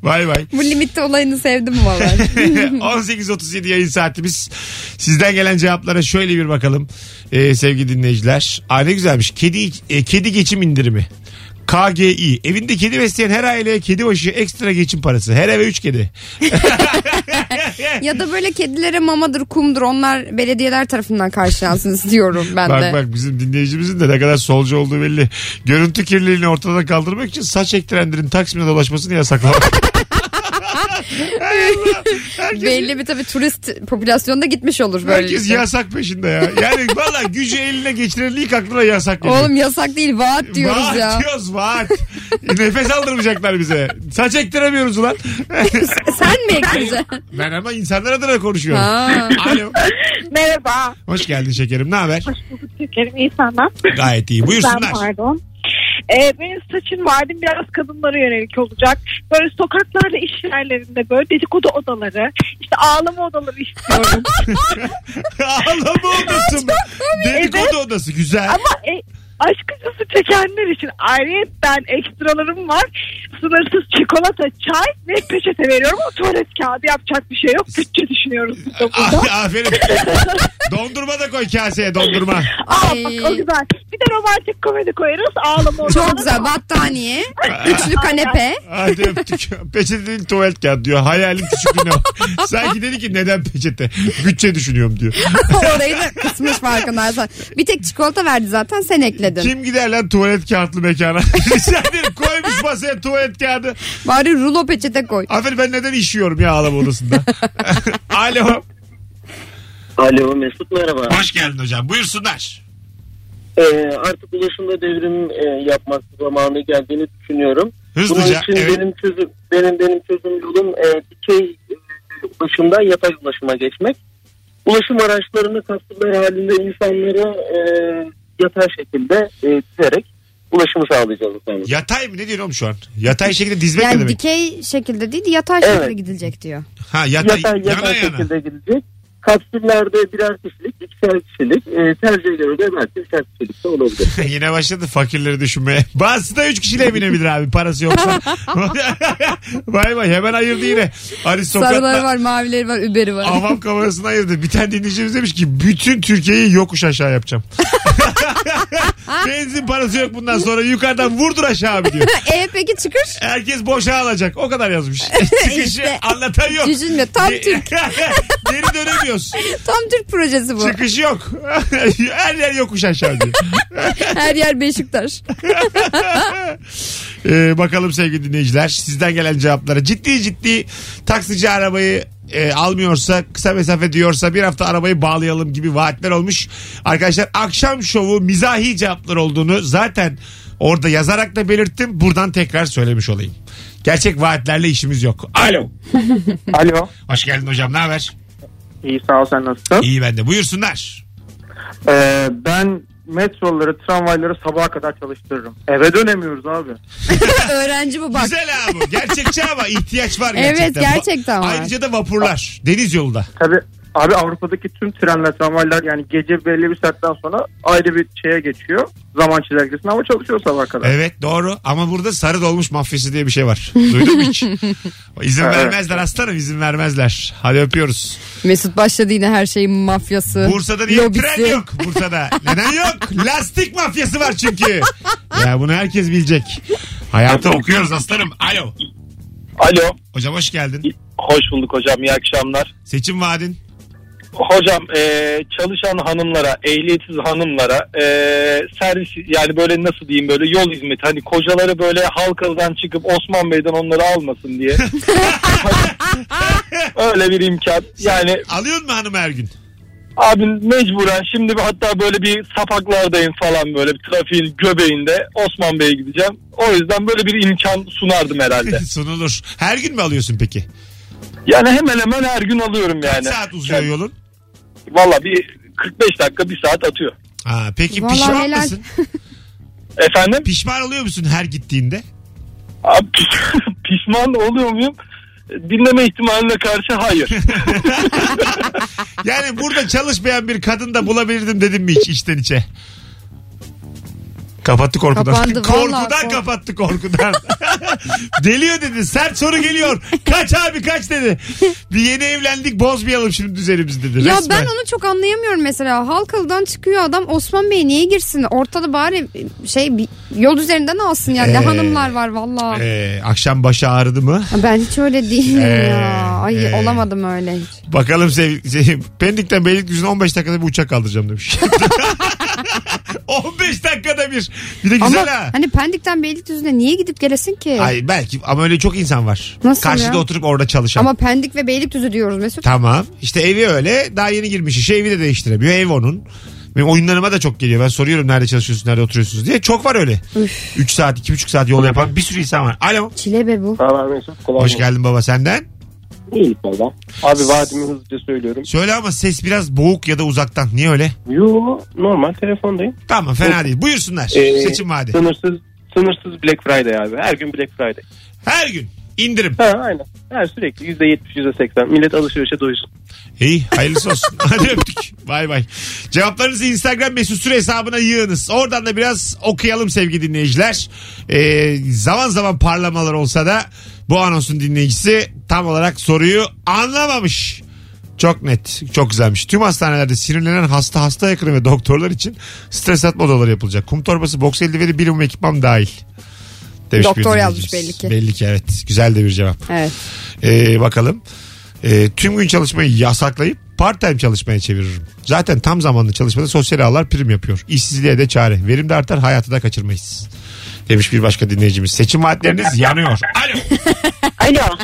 Bay bay.
Bu limitte olayını sevdim valla.
18.37 yayın saatimiz. Sizden gelen cevaplara şöyle bir bakalım ee, sevgili dinleyiciler. Aa, ne güzelmiş. Kedi, e, kedi geçim indirimi. KGI. Evinde kedi besleyen her aileye kedi başı ekstra geçim parası. Her eve 3 kedi.
ya da böyle kedilere mamadır, kumdur onlar belediyeler tarafından karşılansın istiyorum ben
bak
de.
bak bizim dinleyicimizin de ne kadar solcu olduğu belli. Görüntü kirliliğini ortadan kaldırmak için saç ektirenlerin Taksim'e dolaşmasını yasaklamak. Hay Allah. Herkes,
Belli bir tabii turist popülasyonda gitmiş olur böyle.
herkes yasak peşinde ya. Yani valla gücü eline geçirenin ilk aklına yasak geliyor.
Oğlum yasak değil vaat diyoruz
vaat
ya.
diyoruz vaat. Nefes aldırmayacaklar bize. Saç ektiremiyoruz ulan.
Sen mi ekleyeceksin?
ben ama insanlar adına konuşuyorum.
Ha.
Alo.
Merhaba.
Hoş geldin şekerim. Ne haber?
Hoş bulduk Türkerim. İyi senden.
Gayet iyi.
Ben
Buyursunlar.
pardon. Ee, benim saçım vardım biraz kadınlara yönelik olacak. Böyle sokaklarda iş yerlerinde böyle dedikodu odaları, işte ağlama odaları istiyorum.
Ağlama odası mı? Dedikodu odası. Güzel.
Ama e, aşk acısı çekenler için ayrıyetten ekstralarım var. sınırsız çikolata, çay ve peçete veriyorum ama tuvalet kağıdı yapacak bir şey yok. Bütçe düşünüyoruz biz de
Ah.
burada.
A- Aferin. dondurma da koy kaseye dondurma.
Aa
Ay.
bak o güzel. Bir de romantik komedi koyarız ağlama olur.
Çok güzel battaniye, üçlü kanepe.
Hadi öptük. Peçete değil tuvalet kağıdı diyor. Hayalin küçüklüğüne bak. Sanki dedi ki neden peçete? Bütçe düşünüyorum diyor.
Orayı da kısmış farkındaysan. Bir tek çikolata verdi zaten sen ekledin.
Kim gider lan tuvalet kağıtlı mekana? Rica ederim koymuş masaya tuvalet kağıdı.
Bari rulo peçete koy.
Aferin ben neden işiyorum ya ağlama odasında? Alo.
Alo Mesut merhaba.
Hoş geldin hocam. Buyursunlar.
Ee, artık ulaşımda devrim e, yapmak zamanı geldiğini düşünüyorum.
Hızlıca.
Bunun için
Evet.
benim çözüm benim benim çözüm yolum e, dikey e, ulaşımdan yatay ulaşıma geçmek. Ulaşım araçlarını tasvirler halinde insanlara e, yatay şekilde e, dizerek ulaşımı sağlayacağız efendim.
Yatay mı? Ne diyorsun oğlum şu an? Yatay şekilde dizmek ne
Yani
demek?
dikey şekilde değil yatay
Evet.
şekilde gidilecek diyor.
Ha yatay,
Yatay yatay
yana yana.
şekilde gidecek. Kapsüllerde birer kişilik, ikişer kişilik, e, tercihe göre de belki üçer kişilik de olabilir.
Yine başladı fakirleri düşünmeye. Bazısı da 3 kişiyle binebilir abi parası yoksa. vay vay hemen ayırdı yine.
Sarıları
Aristokratla
var, mavileri var, überi var.
avam kafasını ayırdı. Bir tane dinleyicimiz demiş ki bütün Türkiye'yi yokuş aşağı yapacağım. Benzin parası yok bundan sonra yukarıdan vurdur aşağı abi diyor.
e peki çıkış?
Herkes boşa alacak. O kadar yazmış. Çıkışı
İşte.
anlatan yok.
Düşünme tam Türk,
Geri dönemiyoruz.
tam Türk projesi bu.
Çıkışı yok. Her yer yokuş aşağı diyor.
Her yer Beşiktaş.
Ee, bakalım sevgili dinleyiciler sizden gelen cevaplara. Ciddi ciddi taksici arabayı e, almıyorsa kısa mesafe diyorsa bir hafta arabayı bağlayalım gibi vaatler olmuş. Arkadaşlar akşam şovu mizahi cevaplar olduğunu zaten orada yazarak da belirttim. Buradan tekrar söylemiş olayım. Gerçek vaatlerle işimiz yok. Alo.
Alo.
Hoş geldin hocam ne haber?
İyi sağ ol sen nasılsın?
İyi ben de buyursunlar.
Ee, ben metroları, tramvayları sabaha kadar çalıştırırım. Eve dönemiyoruz abi.
Öğrenci bu bak.
Güzel abi. Gerçekçi ama ihtiyaç var
Evet,
gerçekten.
gerçekten var.
Ayrıca da vapurlar. Deniz yolu da.
Tabi abi Avrupa'daki tüm trenler, tramvaylar yani gece belli bir saatten sonra ayrı bir şeye geçiyor. Zaman çizelgesine ama çalışıyor sabaha kadar.
Evet doğru ama burada sarı dolmuş mafyası diye bir şey var. Duydun mu hiç? İzin vermezler aslanım izin vermezler. Hadi öpüyoruz.
Mesut başladı yine her şeyin mafyası.
Bursa'da niye
lobisi.
tren yok Bursa'da? Neden yok? Lastik mafyası var çünkü. Ya bunu herkes bilecek. Hayatı okuyoruz aslanım. Alo.
Alo.
Hocam hoş geldin.
Hoş bulduk hocam. iyi akşamlar.
Seçim vaadin.
Hocam eee, çalışan hanımlara, ehliyetsiz hanımlara eee, servis yani böyle nasıl diyeyim böyle yol hizmeti hani kocaları böyle halkadan çıkıp Osman Bey'den onları almasın diye. Öyle bir imkan. Yani
Alıyor mu hanım her gün?
abim mecburen şimdi bir- hatta böyle bir sapaklardayım falan böyle bir trafiğin göbeğinde Osman Bey'e gideceğim. O yüzden böyle bir imkan sunardım herhalde.
Sunulur. Her gün mü alıyorsun peki?
Yani hemen hemen her gün alıyorum yani.
Saat uzuyor yolun.
Valla bir 45 dakika bir saat atıyor.
Ha, peki
Vallahi
pişman
helal.
mısın?
Efendim?
Pişman oluyor musun her gittiğinde?
Abi, pişman oluyor muyum? Dinleme ihtimaline karşı hayır.
Yani burada çalışmayan bir kadın da bulabilirdim dedim mi hiç içten içe? Kapattı korkudan.
Kapandı,
korkudan
vallahi kork-
kapattı korkudan. Deliyor dedi. Sert soru geliyor. Kaç abi kaç dedi. Bir yeni evlendik bozmayalım şimdi düzenimizi dedi.
Ya
Resmen.
ben onu çok anlayamıyorum mesela. Halkalı'dan çıkıyor adam Osman Bey niye girsin? Ortada bari şey bir yol üzerinden alsın yani. Ne
Ee,
hanımlar var valla.
Ee, akşam başı ağrıdı mı?
Ben hiç öyle değilim
Ee,
ya. Ay
ee.
olamadım öyle hiç.
Bakalım sevgili sevgili- Pendik'ten Beylikdüzü'ne 15 dakikada bir uçak kaldıracağım demiş. 15 dakikada bir. Bir de güzel
Ama
ha.
hani Pendik'ten Beylikdüzü'ne niye gidip gelesin ki?
Ay belki ama öyle çok insan var.
Nasıl
Karşıda
ya?
oturup orada çalışan.
Ama Pendik ve Beylikdüzü diyoruz Mesut.
Tamam. İşte evi öyle. Daha yeni girmiş işe evi de değiştiremiyor. Ev onun. Benim oyunlarıma da çok geliyor. Ben soruyorum nerede çalışıyorsunuz, nerede oturuyorsunuz diye. Çok var öyle. 3 saat, 2,5 saat yol yapan bir sürü insan var. Alo.
Çile be bu.
Tamam Mesut kolay
Hoş geldin baba senden.
İyilik baba. Abi vaadimi hızlıca söylüyorum.
Söyle ama ses biraz boğuk ya da uzaktan. Niye öyle?
Yo normal telefondayım.
Tamam fena değil. Buyursunlar.
Ee,
Seçim vaadi.
Sınırsız sınırsız Black Friday abi. Her gün Black Friday.
Her gün indirim.
Ha aynen. Her sürekli %70 %80. Millet alışverişe doysun.
İyi hayırlısı olsun. Hadi öptük. Bay bay. Cevaplarınızı Instagram mesut süre hesabına yığınız. Oradan da biraz okuyalım sevgili dinleyiciler. Ee, zaman zaman parlamalar olsa da bu anonsun dinleyicisi tam olarak soruyu anlamamış. Çok net. Çok güzelmiş. Tüm hastanelerde sinirlenen hasta hasta yakını ve doktorlar için stres atma odaları yapılacak. Kum torbası, boks eldiveni, bilim ve ekipman dahil. Demiş bir
Doktor yazmış
dinleyicimiz.
belli ki.
Belli ki evet. Güzel de bir cevap.
Evet.
Ee, bakalım. Ee, tüm gün çalışmayı yasaklayıp part time çalışmaya çeviririm. Zaten tam zamanlı çalışmada sosyal ağlar prim yapıyor. İşsizliğe de çare. Verim de artar hayatı da kaçırmayız. Demiş bir başka dinleyicimiz. Seçim vaatleriniz yanıyor. Alo.
Alo.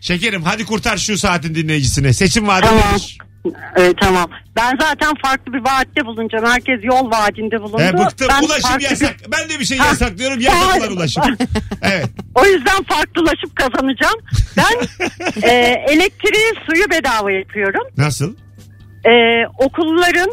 Şekerim hadi kurtar şu saatin dinleyicisini. Seçim vaadi nedir?
Ee, tamam. Ben zaten farklı bir vaatte bulunacağım. Herkes yol vaadinde bulundu.
He, bıktım.
Ben
ulaşım
farklı bir-
yasak. Ben de bir şey
Ha.
yasaklıyorum. Yasaklar ulaşım. Evet.
O yüzden farklılaşıp kazanacağım. Ben e, elektriği suyu bedava yapıyorum.
Nasıl?
E, okulların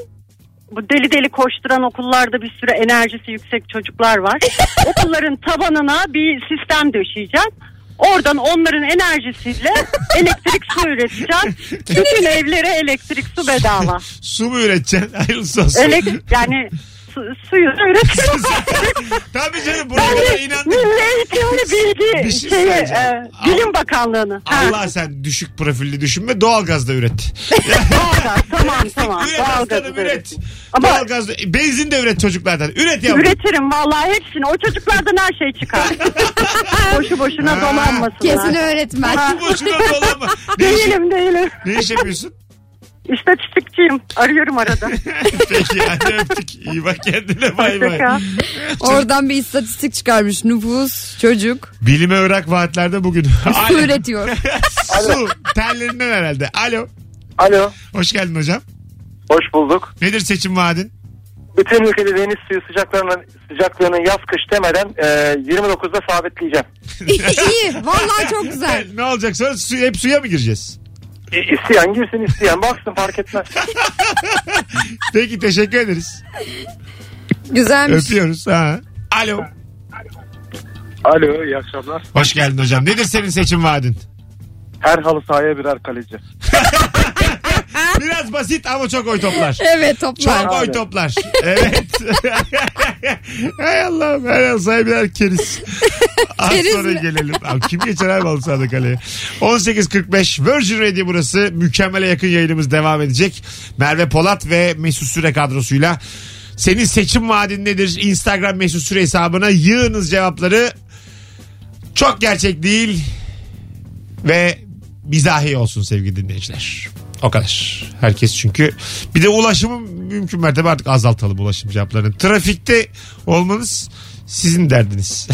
bu deli deli koşturan okullarda bir sürü enerjisi yüksek çocuklar var. Okulların tabanına bir sistem döşeyeceğim. Oradan onların enerjisiyle elektrik su üreteceğim. Bütün evlere elektrik su bedava.
Su mu üreteceksin? Hayırlısı olsun.
Elektrik yani su, suyu üretiyorum.
Tabii canım buraya kadar
yani
inandık.
Milli Eğitimli Bilgi
Bir şey
şeyi,
söyleyeceğim.
e, Bilim Bakanlığı'nı. Ha,
Allah sen düşük profilli düşünme doğalgaz da üret.
doğalgaz tamam tamam.
Üret
Doğalgazı
aslanım
üret.
üret.
Ama-
Doğalgaz, benzin de üret çocuklardan. Üret yavrum.
Üretirim vallahi hepsini. O çocuklardan her şey çıkar. Boşu boşuna
Ha.
dolanmasınlar.
Kesin öğretmen.
Bu boşuna dolanma. Ne iş,
Değilim değilim.
ne iş yapıyorsun?
İstatistikçiyim. Arıyorum arada.
Peki hadi öptük. İyi bak kendine bay bay.
Hoşçakal.
Oradan bir istatistik çıkarmış. Nüfus, çocuk,
Bilime Irak vaatlerde bugün.
su
Alo.
üretiyor.
Su terlerinden herhalde. Alo.
Alo.
Hoş geldin hocam.
Hoş bulduk.
Nedir seçim vaadin?
Bütün ülkede deniz suyu sıcaklığını, sıcaklığını yaz kış demeden e, 29'da sabitleyeceğim.
İyi. Vallahi çok güzel.
ne olacak sonra su, hep suya mı gireceğiz?
E, isteyen girsin isteyen baksın fark etmez.
Peki teşekkür ederiz.
Güzelmiş.
Öpüyoruz. Ha. Alo.
Alo iyi akşamlar.
Hoş geldin hocam. Nedir senin seçim vaadin?
Her halı sahaya birer kaleci.
Biraz basit ama çok oy toplar.
Evet
Çok
toplar.
oy toplar. Evet. Hay Allah'ım her an sahibiler keriz. Az
Keriz
sonra
mi?
gelelim. Abi, kim geçer abi halı sahada kaleye? 18.45 Virgin Radio burası. Mükemmele yakın yayınımız devam edecek. Merve Polat ve Mesut Süre kadrosuyla. Senin seçim vaadin nedir? Instagram Mesut Süre hesabına yığınız cevapları. Çok gerçek değil ve mizahi olsun sevgili dinleyiciler. O kadar. Herkes çünkü. Bir de ulaşımı mümkün mertebe artık azaltalım ulaşım cevaplarını. Trafikte olmanız sizin derdiniz.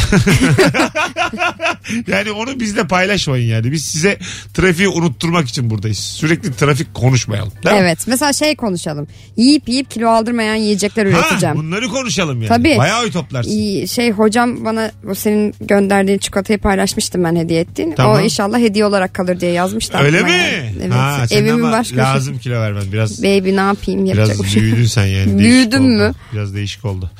yani onu bizle paylaşmayın yani. Biz size trafiği unutturmak için buradayız. Sürekli trafik konuşmayalım. Değil mi?
Evet mesela şey konuşalım. Yiyip yiyip kilo aldırmayan yiyecekler
Ha,
üreteceğim.
bunları konuşalım yani.
Tabii.
Bayağı oy toplarsın.
İyi, şey hocam bana bu senin gönderdiğin çikolatayı paylaşmıştım ben hediye ettiğin.
Tamam.
O inşallah hediye olarak kalır diye yazmıştı.
Öyle
aklıma
mi?
yani. Evet.
Ha, senin
Evimin
ama
başka şey.
lazım kilo vermen. Biraz
Baby ne yapayım yapacak bir
Biraz
şey. yok.
büyüdün sen yani. Değişik
Büyüdüm
oldu.
mü?
Biraz değişik oldu.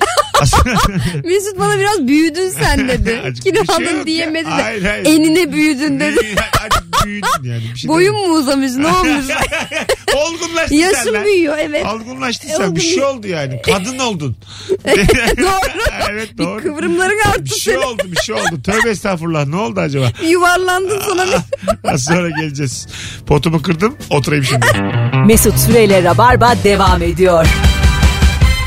Mesut bana biraz büyüdün sen dedi.
şey. Azıcık bir
Kilo
şey
aldın
yok ya.
diyemedi de
Hayır, hayır. şey
enine büyüdün dedi.
Büyü- Azıcık büyüdün yani. Bir şey
Boyun
demedim.
mu uzamış ne olmuş?
Olgunlaştın sen
Yaşım
lan.
büyüyor evet.
Olgunlaştın
E,
sen. Bir şey oldu yani. Kadın oldun.
doğru.
evet
Bir
doğru.
kıvrımların
Bir
arttı
şey
senin.
oldu bir şey oldu. Tövbe estağfurullah ne oldu acaba? Ah,
Yuvarlandın sonra ne?
Az sonra geleceğiz. Potumu kırdım oturayım şimdi.
Mesut Süreyle Rabarba devam ediyor.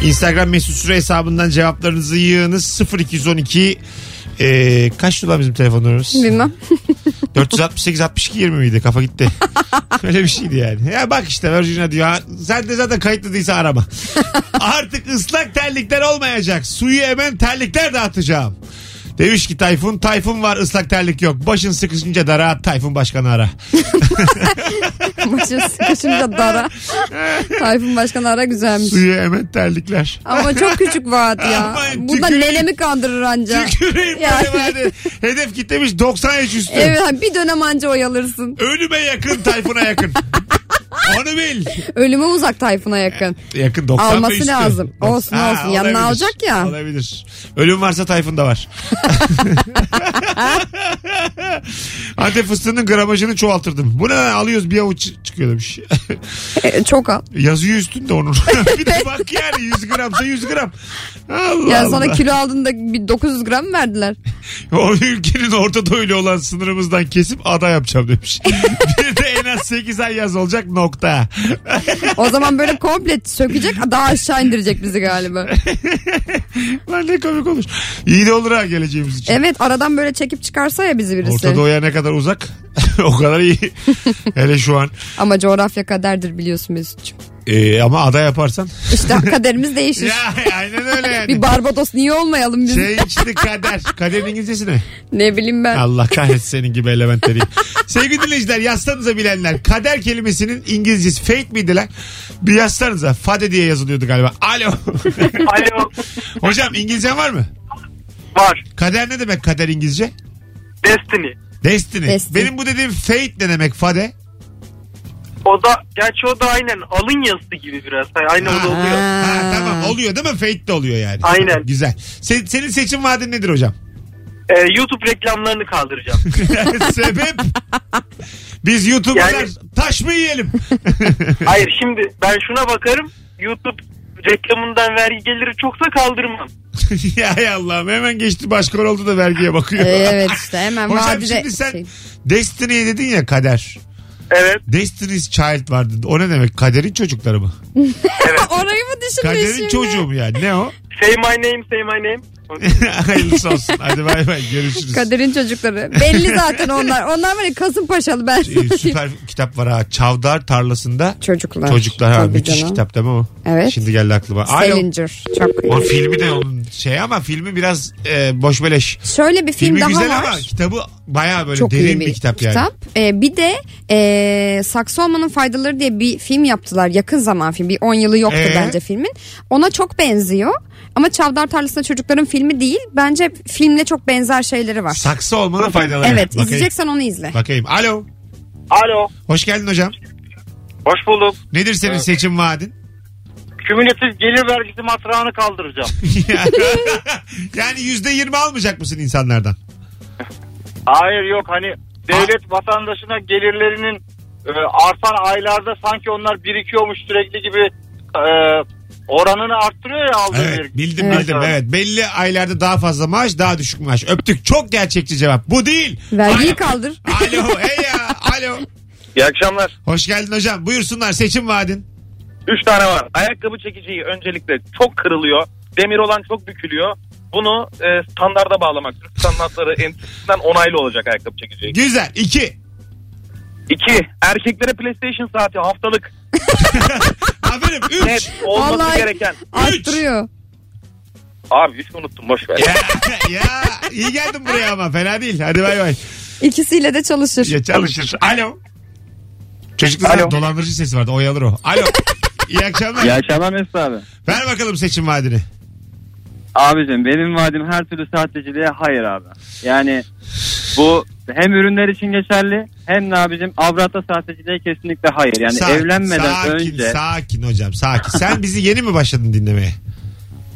Instagram mesut süre hesabından cevaplarınızı yığınız. 0212 ee, kaç dolar bizim telefonlarımız?
Bilmem.
468 62 20 miydi? Kafa gitti. Öyle bir şeydi yani. Ya bak işte Virgin'e diyor. ha, Sen de zaten kayıtlı değilse arama. Artık ıslak terlikler olmayacak. Suyu hemen terlikler dağıtacağım. Demiş ki Tayfun, Tayfun var ıslak terlik yok. Başın sıkışınca da rahat Tayfun başkanı ara.
Maçın sıkışınca dara. Tayfun Başkan ara güzelmiş.
Suyu hemen terlikler.
Ama çok küçük vaat ya.
Aman
Bunda
tüküreyim.
nenemi kandırır anca.
Tüküreyim
Ya.
böyle madem. Hedef kitlemiş 93 üstü.
Evet bir dönem anca oyalırsın.
Ölüme yakın Tayfun'a yakın. Onu bil.
Ölüme uzak Tayfun'a yakın.
Yakın 90 da
Alması
üstü.
lazım. Olsun, olsun. Yanına
olabilir.
alacak ya.
Olabilir. Ölüm varsa Tayfun da var. Antep fıstığının gramajını çoğaltırdım. Bu ne lan? alıyoruz bir avuç çıkıyor demiş.
E, çok al.
Yazıyor üstünde onun. bir de bak yani 100 gramsa 100 gram. Allah
Ya sana
Allah.
kilo aldığında bir 900 gram mı verdiler?
O ülkenin Orta Doğu'yla olan sınırımızdan kesip ada yapacağım demiş. bir de en az 8 ay yaz olacak nokta.
O zaman böyle komple sökecek daha aşağı indirecek bizi galiba.
Lan ne komik olur. İyi de olur ha geleceğimiz için.
Evet aradan böyle çekip çıkarsa ya bizi birisi.
Orta Doğu'ya ne kadar uzak o kadar iyi. Hele şu an.
Ama coğrafya kaderdir biliyorsun Mesut'cum.
Ee, ama ada yaparsan.
İşte kaderimiz değişir.
ya aynen öyle yani.
Bir Barbados niye olmayalım biz?
Şey işte kader. Kaderin İngilizcesi ne?
Ne bileyim ben.
Allah kahretsin senin gibi elementleri. Sevgili dinleyiciler yazsanıza bilenler. Kader kelimesinin İngilizcesi fake miydi lan? Bir yazsanıza. Fade diye yazılıyordu galiba. Alo.
Alo.
Hocam İngilizcen var mı?
Var.
Kader ne demek kader İngilizce?
Destiny.
Destiny.
Destiny.
Benim bu dediğim fate ne demek fade?
O da gerçi o da aynen alın yazısı gibi biraz. Yani Aynı o da oluyor.
Ha, tamam oluyor değil mi? Fate de oluyor yani.
Aynen.
Güzel. Se- senin seçim vaadin nedir hocam?
Ee, YouTube reklamlarını kaldıracağım.
Sebep? Biz YouTuber'lar
Yani-
taş mı yiyelim?
Hayır şimdi ben şuna bakarım. YouTube reklamından vergi geliri çoksa kaldırmam.
ya hay Allah'ım hemen geçti başkan oldu da vergiye bakıyor.
Ee, evet işte hemen
Hocam
vadide
şimdi sen
şey.
Destiny dedin ya kader.
Evet.
Destiny's Child vardı. O ne demek? Kaderin çocukları mı?
Orayı mı düşünmüşsün?
Kaderin çocuğu mu yani? Ne o?
Say my name, say my name.
Hayırlısı olsun. Hadi bay bay görüşürüz.
Kaderin çocukları. Belli zaten onlar. Onlar var ya Kasımpaşalı ben sana
Ee,
diyeyim.
süper kitap var ha. Çavdar tarlasında.
Çocuklar.
Çocuklar ha.
Tabii
Müthiş
canım.
kitap değil mi o?
Evet.
Şimdi geldi aklıma. Alo.
Salinger. Çok iyi.
O filmi de onun şey ama filmi biraz e, boş beleş.
Şöyle bir film
filmi
daha
güzel
var.
ama kitabı baya böyle
Çok iyi
derin
bir
bir, kitap yani.
kitap. Ee, bir de e, saksı olmanın faydaları diye bir film yaptılar. Yakın zaman film. Bir 10 yılı yoktu
Ee?
bence filmin. Ona çok benziyor. Ama Çavdar Tarlası'nda çocukların filmi değil. Bence filmle çok benzer şeyleri var.
Saksı olmanın faydaları.
evet
Bakayım.
izleyeceksen onu izle.
Bakayım. Alo.
Alo.
Hoş geldin hocam.
Hoş bulduk.
Nedir senin
Evet.
seçim vaadin?
Kümülatif gelir vergisi matrağını kaldıracağım.
yani yüzde yirmi almayacak mısın insanlardan?
Hayır yok hani devlet vatandaşına gelirlerinin e, artan aylarda sanki onlar birikiyormuş sürekli gibi e, oranını arttırıyor ya aldığı
Evet
vergi.
bildim bildim evet. Belli aylarda daha fazla maaş daha düşük maaş. Öptük çok gerçekçi cevap. Bu değil.
Vergiyi kaldır.
Alo hey ya alo.
İyi akşamlar.
Hoş geldin hocam. Buyursunlar seçim vaadin.
Üç tane var. Ayakkabı çekiciyi öncelikle çok kırılıyor. Demir olan çok bükülüyor. Bunu e, standarda bağlamak. Türk standartları enstitüsünden onaylı olacak ayakkabı çekiciyi.
Güzel. iki.
İki, erkeklere PlayStation saati haftalık.
Aferin. Üç.
Net olması
Vallahi
gereken.
Arttırıyor.
Abi üç unuttum boş ver.
ya iyi geldin buraya ama fena değil. Hadi bay bay.
İkisiyle de çalışır.
Ya çalışır. Alo. Çocukta zaten dolandırıcı sesi vardı. Oyalır o. Alo. İyi akşamlar.
İyi akşamlar Mesut abi.
Ver bakalım seçim vaadini.
Abicim benim vaadim her türlü sahteciliğe hayır abi. Yani bu hem ürünler için geçerli hem de abicim avratta sahteciliğe kesinlikle hayır. Yani
Sakin,
evlenmeden
sakin,
önce
Sakin hocam sakin. Sen bizi yeni mi başladın dinlemeye?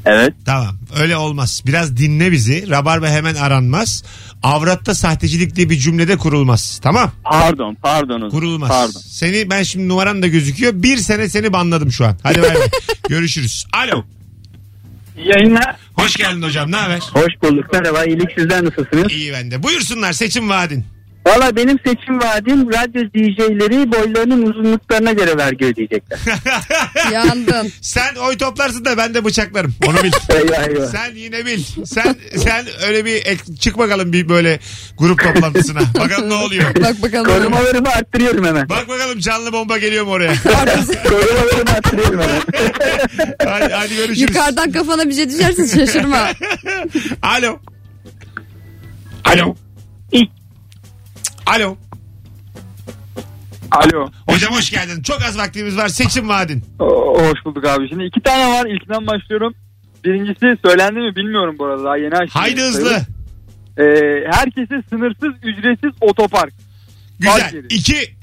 Evet.
Tamam öyle olmaz. Biraz dinle bizi. Rabarba hemen aranmaz. Avratta sahtecilik diye bir cümlede kurulmaz. Tamam?
pardon pardon
Kurulmaz.
Pardon.
Seni ben şimdi numaram da gözüküyor. Bir sene seni banladım şu an. Hadi bay bay. Görüşürüz. Alo.
Yayınlar.
Hoş geldin hocam. Ne haber?
Hoş bulduk. Merhaba. İyilik sizler nasılsınız?
İyi ben de. Buyursunlar seçim vaadin.
Valla benim seçim vaadim radyo DJ'leri boylarının uzunluklarına göre vergi ödeyecekler.
Yandın.
Sen oy toplarsın da ben de bıçaklarım. Onu bil.
Eyvah, eyvah.
Sen yine bil. Sen sen öyle bir ek- çık bakalım bir böyle grup toplantısına. Bakalım ne oluyor.
Bak bakalım.
Korumalarımı arttırıyorum hemen.
Bak bakalım canlı bomba geliyor mu oraya?
Korumalarımı arttırıyorum hemen.
hadi, hadi görüşürüz.
Yukarıdan kafana bir şey düşerse şaşırma.
Alo. Alo. Alo.
Alo.
Hocam hoş geldin. Çok az vaktimiz var. Seçim vaadin.
O- hoş bulduk abi. Şimdi iki tane var. İlkinden başlıyorum. Birincisi söylendi mi bilmiyorum bu arada. Daha yeni açtım.
Haydi hızlı.
Sayılır. Ee, herkese sınırsız ücretsiz otopark.
Güzel.
Park yeri.
İki.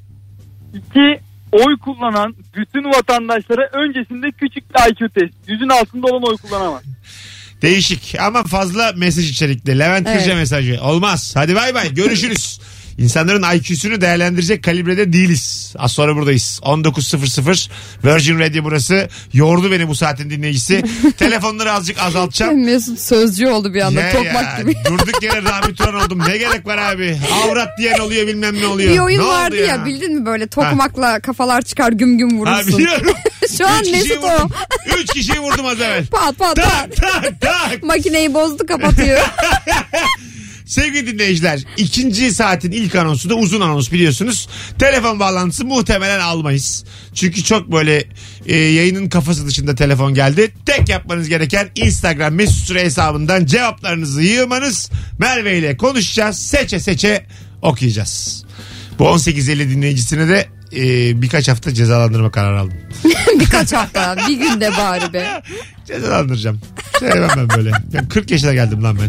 İki
oy kullanan bütün vatandaşlara öncesinde küçük bir IQ test. Yüzün altında olan oy kullanamaz.
Değişik ama fazla mesaj içerikli. Levent
Evet.
Kırca mesajı. Olmaz. Hadi bay bay. Görüşürüz. İnsanların IQ'sunu değerlendirecek kalibrede değiliz. Az sonra buradayız. 19.00 Virgin Radio burası. Yordu beni bu saatin dinleyicisi. Telefonları azıcık azaltacağım.
Mesut sözcü oldu bir anda.
Ne
Tokmak
ya?
gibi.
Durduk yere rahmi Turan oldum. Ne gerek var abi? Avrat diyen oluyor bilmem ne oluyor.
Bir oyun
Ne oldu
vardı ya. bildin mi böyle tokmakla kafalar çıkar güm güm
Ha,
vurursun.
biliyorum.
Şu an
Üç kişiyi
Mesut o.
vurdum. Üç kişiyi vurdum az evvel.
Pat pat pat.
Tak tak.
Makineyi bozdu kapatıyor.
Sevgili dinleyiciler ikinci saatin ilk anonsu da uzun anons biliyorsunuz. Telefon bağlantısı muhtemelen almayız. Çünkü çok böyle e, yayının kafası dışında telefon geldi. Tek yapmanız gereken Instagram mesut süre hesabından cevaplarınızı yığmanız. Merve ile konuşacağız. Seçe seçe okuyacağız. Bu 18.50 dinleyicisine de e, birkaç hafta cezalandırma kararı aldım.
Birkaç hafta. Bir günde bari be.
Cezalandıracağım. Sevmem ben böyle. Ben 40 yaşına geldim lan ben.